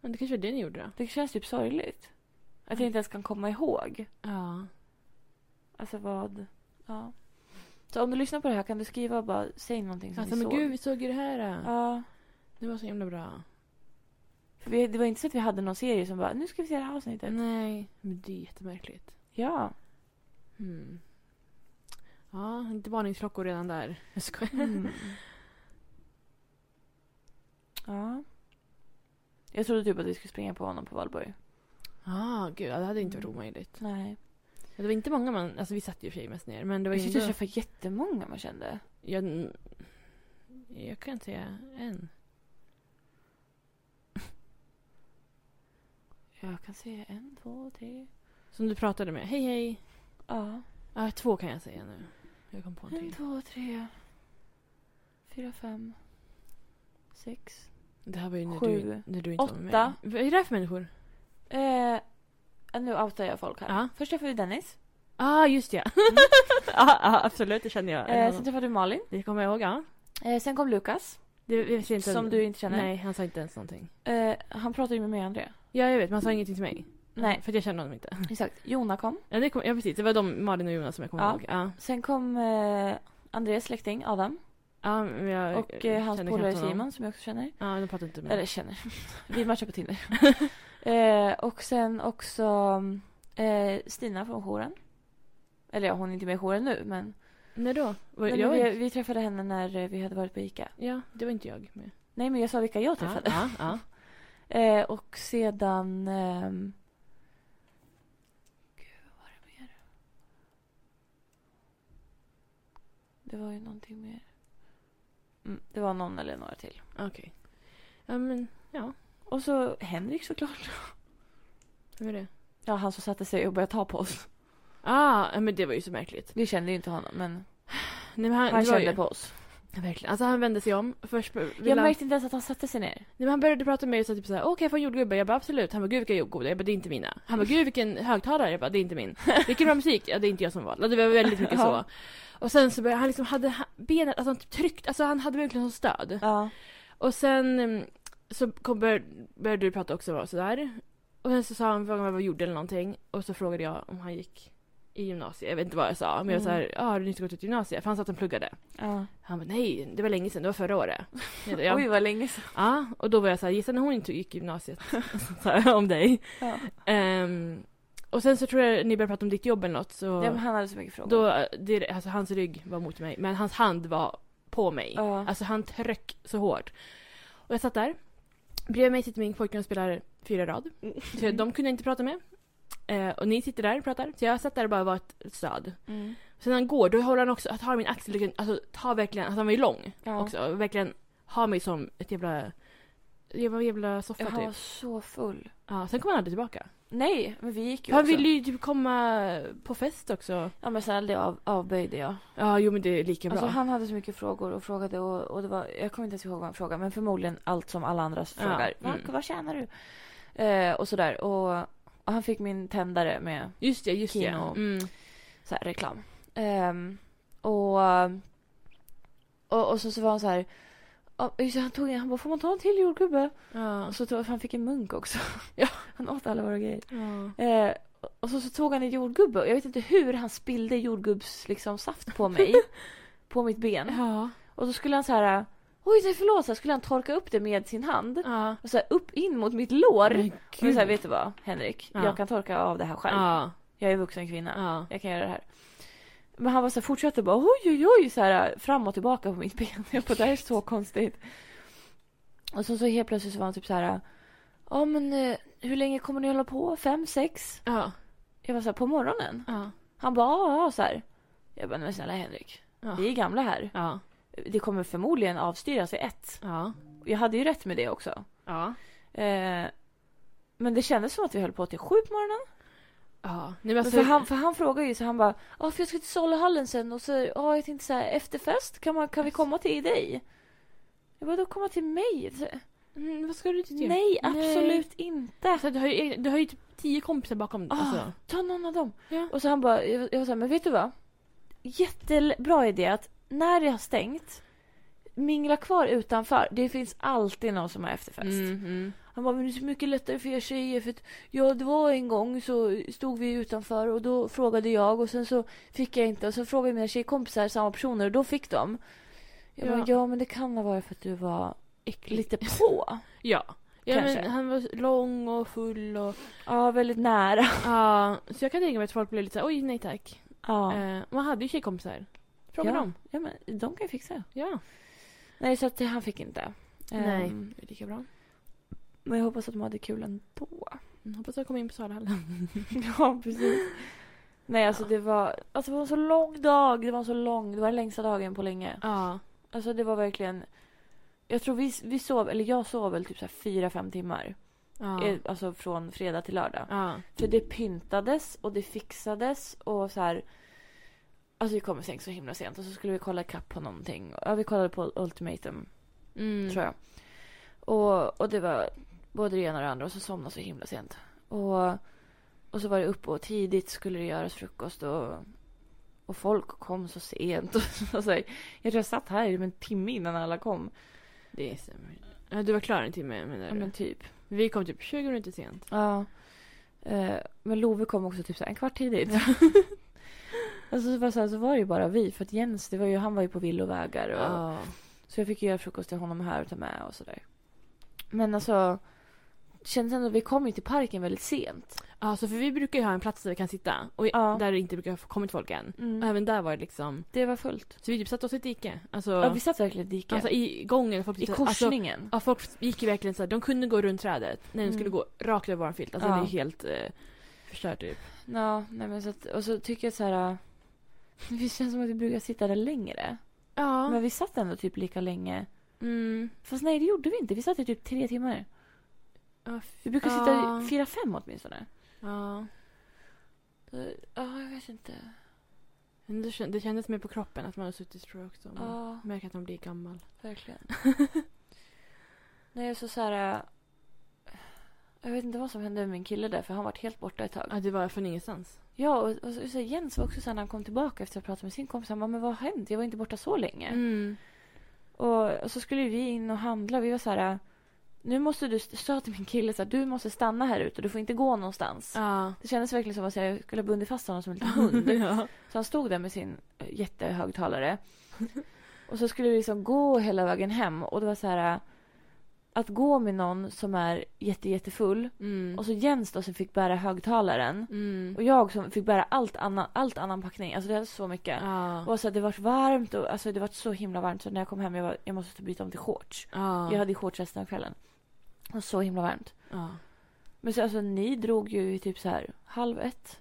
Men det kanske var det ni gjorde då? Det känns typ sorgligt. Att jag inte ens kan komma ihåg. Ja. Alltså vad... Ja. Så om du lyssnar på det här kan du skriva och bara säg någonting som Alltså vi men såg. gud, vi såg ju det här. Ja. Ja. Det var så himla bra. För vi, det var inte så att vi hade någon serie som bara nu ska vi se det här avsnittet. Nej. Men det är jättemärkligt. Ja. Mm. Ja, inte varningsklockor redan där. Jag skojar. Mm. ja. Jag trodde typ att vi skulle springa på honom på valborg. Ja, gud. Ja, det hade inte varit omöjligt. Nej. Ja, Det var inte många man... Alltså vi satt ju i och för sig mest ner. Men det var Vi ju tyckte jag ändå... träffade jättemånga man kände. Jag, jag kan inte säga en. Jag kan se en, två, tre. Som du pratade med. Hej, hej. Ja. Ja, två kan jag säga nu. Jag kom på en En, till. två, tre. Fyra, fem. Sex. Det här var ju när, Sju. du, när du inte var med Åtta. mig. Vad är det här för människor? Eh, nu outar jag folk här. Ja. Först träffade vi Dennis. ah, just ja. ja, ja, absolut. Det känner jag. Mm. Eh, sen träffade du Malin. det kommer jag ihåg, ja. Eh, sen kom Lukas. Det, jag ser inte Som du inte känner? Nej, han sa inte ens någonting. Eh, han pratade ju med mig och André. Ja, jag vet. Man sa ingenting till mig. Nej. För att jag kände honom inte. Exakt. Jona kom. Ja, det kom, ja precis. Det var de, Malin och Jonas, som jag kommer Ja. ihåg. Ja. Sen kom eh, Andrés släkting Adam. ja men jag Och eh, hans kände polare knappt honom. Simon som jag också känner. Ja, de pratade inte med Eller mig. känner. vi matchar på Tinder. eh, och sen också eh, Stina från jouren. Eller ja, hon är inte med i jouren nu men. När då? Var, Nej, jag men var vi, inte, vi träffade henne när eh, vi hade varit på Ica. ja, det var inte jag med. Nej men jag sa vilka jag Ja, träffade. ja, ja. Eh, och sedan... ehm, Gud, vad var det mer? Det var ju någonting mer. Mm, det var någon eller några till. Okej. Ja, men ja. Och så Henrik såklart. Vem är det? Ja, han som satte sig och började ta på oss. Ah, ja, men det var ju så märkligt. Vi kände ju inte honom, men Nej, men han, han det var kände ju, på oss. Verkligen. Alltså han vände sig om. Först ville Jag han... märkte inte ens att han satte sig ner. Nej, men han började prata med mig och sa typ såhär, okej okay, får jag jordgubbar? Jag bara absolut. Han bara, gud vilka jordgubbar? Jag bara, det är inte mina. Han bara, gud vilken högtalare? Jag bara, det är inte min. Vilken bra musik? Ja, det är inte jag som valt. Alltså, det var väldigt mycket så. Ja. Och sen så började han liksom, hade ha- benet, alltså han typ tryckt, alltså han hade musklerna som stöd. Ja. Och sen mm, så kom, bör, började du prata också va, sådär. Och sen så sa han, frågade vad jag gjorde eller någonting. Och så frågade jag om han gick i gymnasiet. Jag vet inte vad jag sa. Men jag sa, Mm. ja har du nyss gått ut gymnasiet? För han sa att han pluggade. ja. Han bara, nej det var länge sedan, det var förra året. Jag bara, "Ja." Oj, vad länge sedan. Ja, och då var jag så här, gissa när hon inte gick i gymnasiet. Så här, om dig. Ja. Ehm, och sen så tror jag ni började prata om ditt jobb eller något. Så men han hade så mycket frågor. då, eh, det, alltså, hans rygg var mot mig, men hans hand var på mig. Ja. Alltså han tryck så hårt. Och jag satt där. Bredvid mig sitter min pojkvän och spelar fyra rad. Mm. Så jag- de kunde jag inte prata med. Eh, och ni sitter där och pratar. Så jag satt där och bara var ett stöd. Mm. Sen när han går, då håller han också, tar min axel, liksom, alltså tar verkligen, alltså han var ju lång Ja. också. Och verkligen har mig som ett jävla, jävla, jävla soffa Ja, han var typ. så full. Ja, sen kom han aldrig tillbaka. Nej, men vi gick ju han också. ville ju typ komma på fest också. Ja, men sen det av, avböjde jag. Ja, jo men det är lika bra. Alltså, han hade så mycket frågor och frågade och, och det var, jag kommer inte ens ihåg vad han frågade men förmodligen allt som alla andra Ja, frågar. mm. Vad, vad tjänar du? Eh, och sådär. Och, och han fick min tändare med Just det, just det. Kino. Mm. så här, reklam. Ehm, och, och, och så, så var han så här. ja, just det, Han, tog, en- han bara, får man ta en till jordgubbe? Ja. Och så tog, han fick en munk också. Ja, han åt alla våra grejer. ja. Eh, och så, så tog han en jordgubbe och jag vet inte hur han spillde jordgubbs liksom, saft på mig. på mitt ben. Ja. Och så skulle han så här... Oj, nej, förlåt. Så här skulle han torka upp det med sin hand. Ja. Och så här, upp in mot mitt lår. Men Och så här, gud. vet du vad, Henrik? Ja. Jag kan torka av det här själv. Ja. Jag är vuxen kvinna. Ja. Jag kan göra det här. Men han var så här, fortsatte bara oj, oj, oj. Så här, fram och tillbaka på mitt ben. Jag bara, det här är så konstigt. Och så, så helt plötsligt så var han typ så här. Ja, men eh, hur länge kommer ni hålla på? Fem, sex? Ja. Jag var så här, på morgonen? Ja. Han bara, ja, ja, så här. Jag bara, men snälla Henrik. Ja. Vi är gamla här. Ja. Det kommer förmodligen avstyras vid ett. Ja. Jag hade ju rätt med det också. Ja. Eh, men det kändes som att vi höll på till sju på morgonen. Ja. Nej, men alltså, för, han, för han frågade ju så han bara ja för jag ska till Saluhallen sen och så ja jag tänkte så här efterfest kan, man, kan vi komma till dig? Jag bara då komma till mig? Så, Mm, vad ska du till det? Nej absolut inte. Alltså, du, har ju, du har ju typ tio kompisar bakom dig. Ah, Alltså. Ta någon av dem. Ja. Och så han bara jag, jag var så här, men vet du vad? Jättebra idé att när det har stängt mingla kvar utanför. Det finns alltid någon som har efterfest. Mm, mm. Han bara, men det är så mycket lättare för er tjejer för att ja, det var en gång så stod vi utanför och då frågade jag och sen så fick jag inte och så frågade mina tjejkompisar samma personer och då fick de. Jag ja. Ja. bara, ja men det kan ha varit för att du var lite på. Ja. Ja, Kanske. men han var lång och full och... Ja, väldigt nära. Ja, så jag kan tänka mig att folk blev lite såhär, oj nej tack. Ja, Eh, man hade ju tjejkompisar. Fråga Ja. dem. ja men de kan ju fixa det. Ja. Nej, så att det- han fick inte. Nej. Ehm, Det är lika bra. men jag hoppas att de hade kul ändå. Mm, Hoppas jag kommer in på Salahallen. Ja, precis. Nej, alltså det var, alltså det var en så lång dag. Det var en så lång, det var den längsta dagen på länge. Ja. Alltså det var verkligen... Jag tror vi, vi sov, eller jag sov väl typ så här fyra, fem timmar. Ja. Eh, Alltså från fredag till lördag. Ja. För det pyntades och det fixades och så här... Alltså vi kom i säng så himla sent och så skulle vi kolla kapp på någonting. Ja, vi kollade på Ultimatum, Mm. tror jag. Och, och det var både det ena och det andra och så somnade jag så himla sent. Och, och så var det uppe och tidigt skulle det göras frukost och, och folk kom så sent. Och, så här, jag tror jag satt här i typ en timme innan alla kom. Det stämmer. Ja, du var klar en timme menar Ja du? men typ. Vi kom typ 20 minuter sent. Ja. Eh, men Love kom också typ så här en kvart tidigt. alltså så var, det så, här, så var det ju bara vi. För att Jens, det var ju, han var ju på villovägar. Och, Ja. Så jag fick ju göra frukost till honom här och ta med och sådär. Men alltså. det Kändes ändå, vi kom ju till parken väldigt sent. Ja, så för vi brukar ju ha en plats där vi kan sitta. Och Ja. där det inte brukar ha kommit folk än. Mm. Och även där var det liksom... Det var fullt. Så vi typ satte oss i ett dike. Alltså, Ja, vi satt verkligen i diket. alltså i gången. Folk I typ- Alltså, korsningen. ja, folk gick ju verkligen så här, De kunde gå runt trädet. När de Mm. skulle gå rakt över vår filt. Alltså Ja. det är helt eh, förstört typ. ja, nej men så att, och så tycker jag så här. äh, Det känns som att vi brukar sitta där längre. Ja. Men vi satt ändå typ lika länge. Mm. Fast nej, det gjorde vi inte. Vi satt i typ tre timmar. Ja, Vi brukar Ja. sitta fyra, fem åtminstone. Ja. Mm. Ja, jag vet inte. Men Det, kän- det kändes mer på kroppen att man har suttit tror jag också. Man Ja, märker att man blir gammal. verkligen. Nej, så så här... äh, Jag vet inte vad som hände med min kille där för han var helt borta ett tag. Ja, det var från ingenstans. Ja, och, och så, så här, Jens var också så här, när han kom tillbaka efter att ha pratat med sin kompis. Han bara, men vad har hänt? Jag var inte borta så länge. Mm. Och, och så skulle vi in och handla. Vi var så här... äh, Nu måste du, st- sa till min kille så här, du måste stanna här ute. Du får inte gå någonstans. Ja. Det kändes verkligen som att jag skulle ha bundit fast honom som en liten hund. ja. Så han stod där med sin eh, jättehögtalare. Och så skulle vi liksom gå hela vägen hem. Och det var så här... eh, Att gå med någon som är jätte, jättefull. Mm. Och så Jens då som fick bära högtalaren. mm. Och jag som fick bära allt annan, allt annan packning. Alltså det var så mycket. Ja. Och så att det var varmt och alltså det var så himla varmt. Så när jag kom hem jag, var, jag måste byta om till shorts. Ja. Jag hade ju shorts resten av kvällen. Det var så himla varmt. ja. Men så alltså ni drog ju i typ så här halv ett.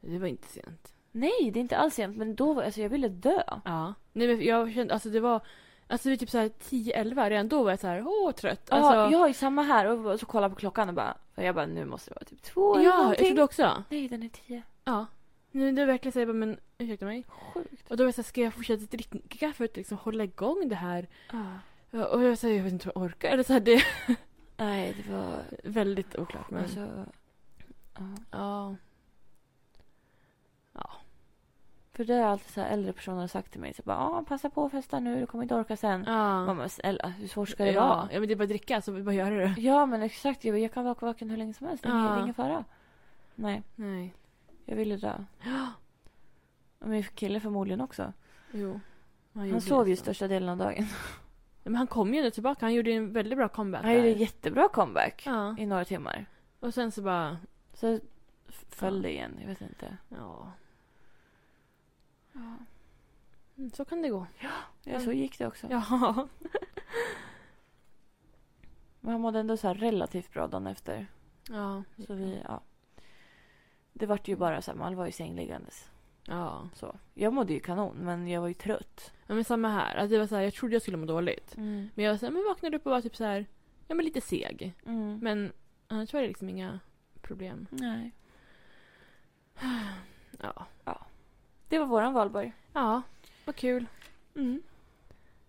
Det var inte sent. Nej, det är inte alls sent. Men då var alltså jag ville dö. Ja. Nej men jag kände, alltså det var, alltså vi typ såhär 10-11, redan då var jag såhär, åh trött. Ja, Alltså, jag är samma här och så kollar på klockan och bara och jag bara nu måste det vara typ två eller ja jag någonting. trodde också. Nej, den är tio. Ja. Nu det var verkligen såhär, men ursäkta mig. Sjukt. Och då var jag såhär, ska jag fortsätta dricka för att liksom hålla igång det här? Ja. Ja, Och jag säger jag vet inte om jag orkar. Eller så här, det är Nej, det var väldigt oklart. Men... alltså ja. ja. För det har alltid så här äldre personer sagt till mig. Så bara, ah, passa på att festa nu, du kommer inte orka sen. ja. Mamma, snälla, hur svårt ska det ja. vara? ja, men det är bara att dricka så vi bara göra det. Ja, men exakt. Jag, bara, jag kan vara vaken hur länge som helst. Det är Ja. ingen- det är ingen fara. Nej, Nej. jag ville dö. Och min kille förmodligen också. Jo. Han sov ju största delen av dagen. Ja, Men han kom ju ändå tillbaka. Han gjorde ju en väldigt bra comeback Han gjorde där. en jättebra comeback Ja. i några timmar. Och sen så bara... Så f- föll det igen. Jag vet inte. Ja. Mm, Så kan det gå. Ja, så gick det också. Ja. Men han mådde ändå så här relativt bra dagen efter. Ja. Så vi, ja. Det vart ju bara så här, man var ju sängliggandes. Ja. Så. Jag mådde ju kanon, men jag var ju trött. ja men samma här. Alltså, det var så här, jag trodde jag skulle må dåligt. Mm. Men jag så här, men vaknade upp och var typ så här... Ja men lite seg. Mm. Men annars var det liksom inga problem. Nej. Ja. Det var våran valborg. Ja. Vad kul. Mm.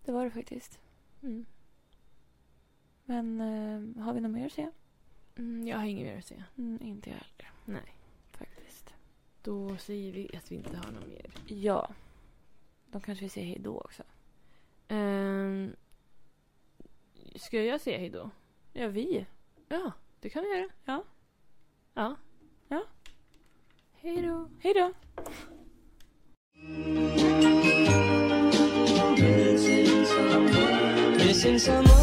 Det var det faktiskt. Mm. Men eh, har vi något mer att säga? Mm, jag har inget mer att säga. Mm, inte jag heller. Nej. Faktiskt. Då säger vi att vi inte har något mer. Ja. De kanske vill säga hej då också. Um, ska jag säga hej då? Ja, vi. Ja, det kan vi göra. Ja. Ja. Ja. Hej då. Hej då! Missing someone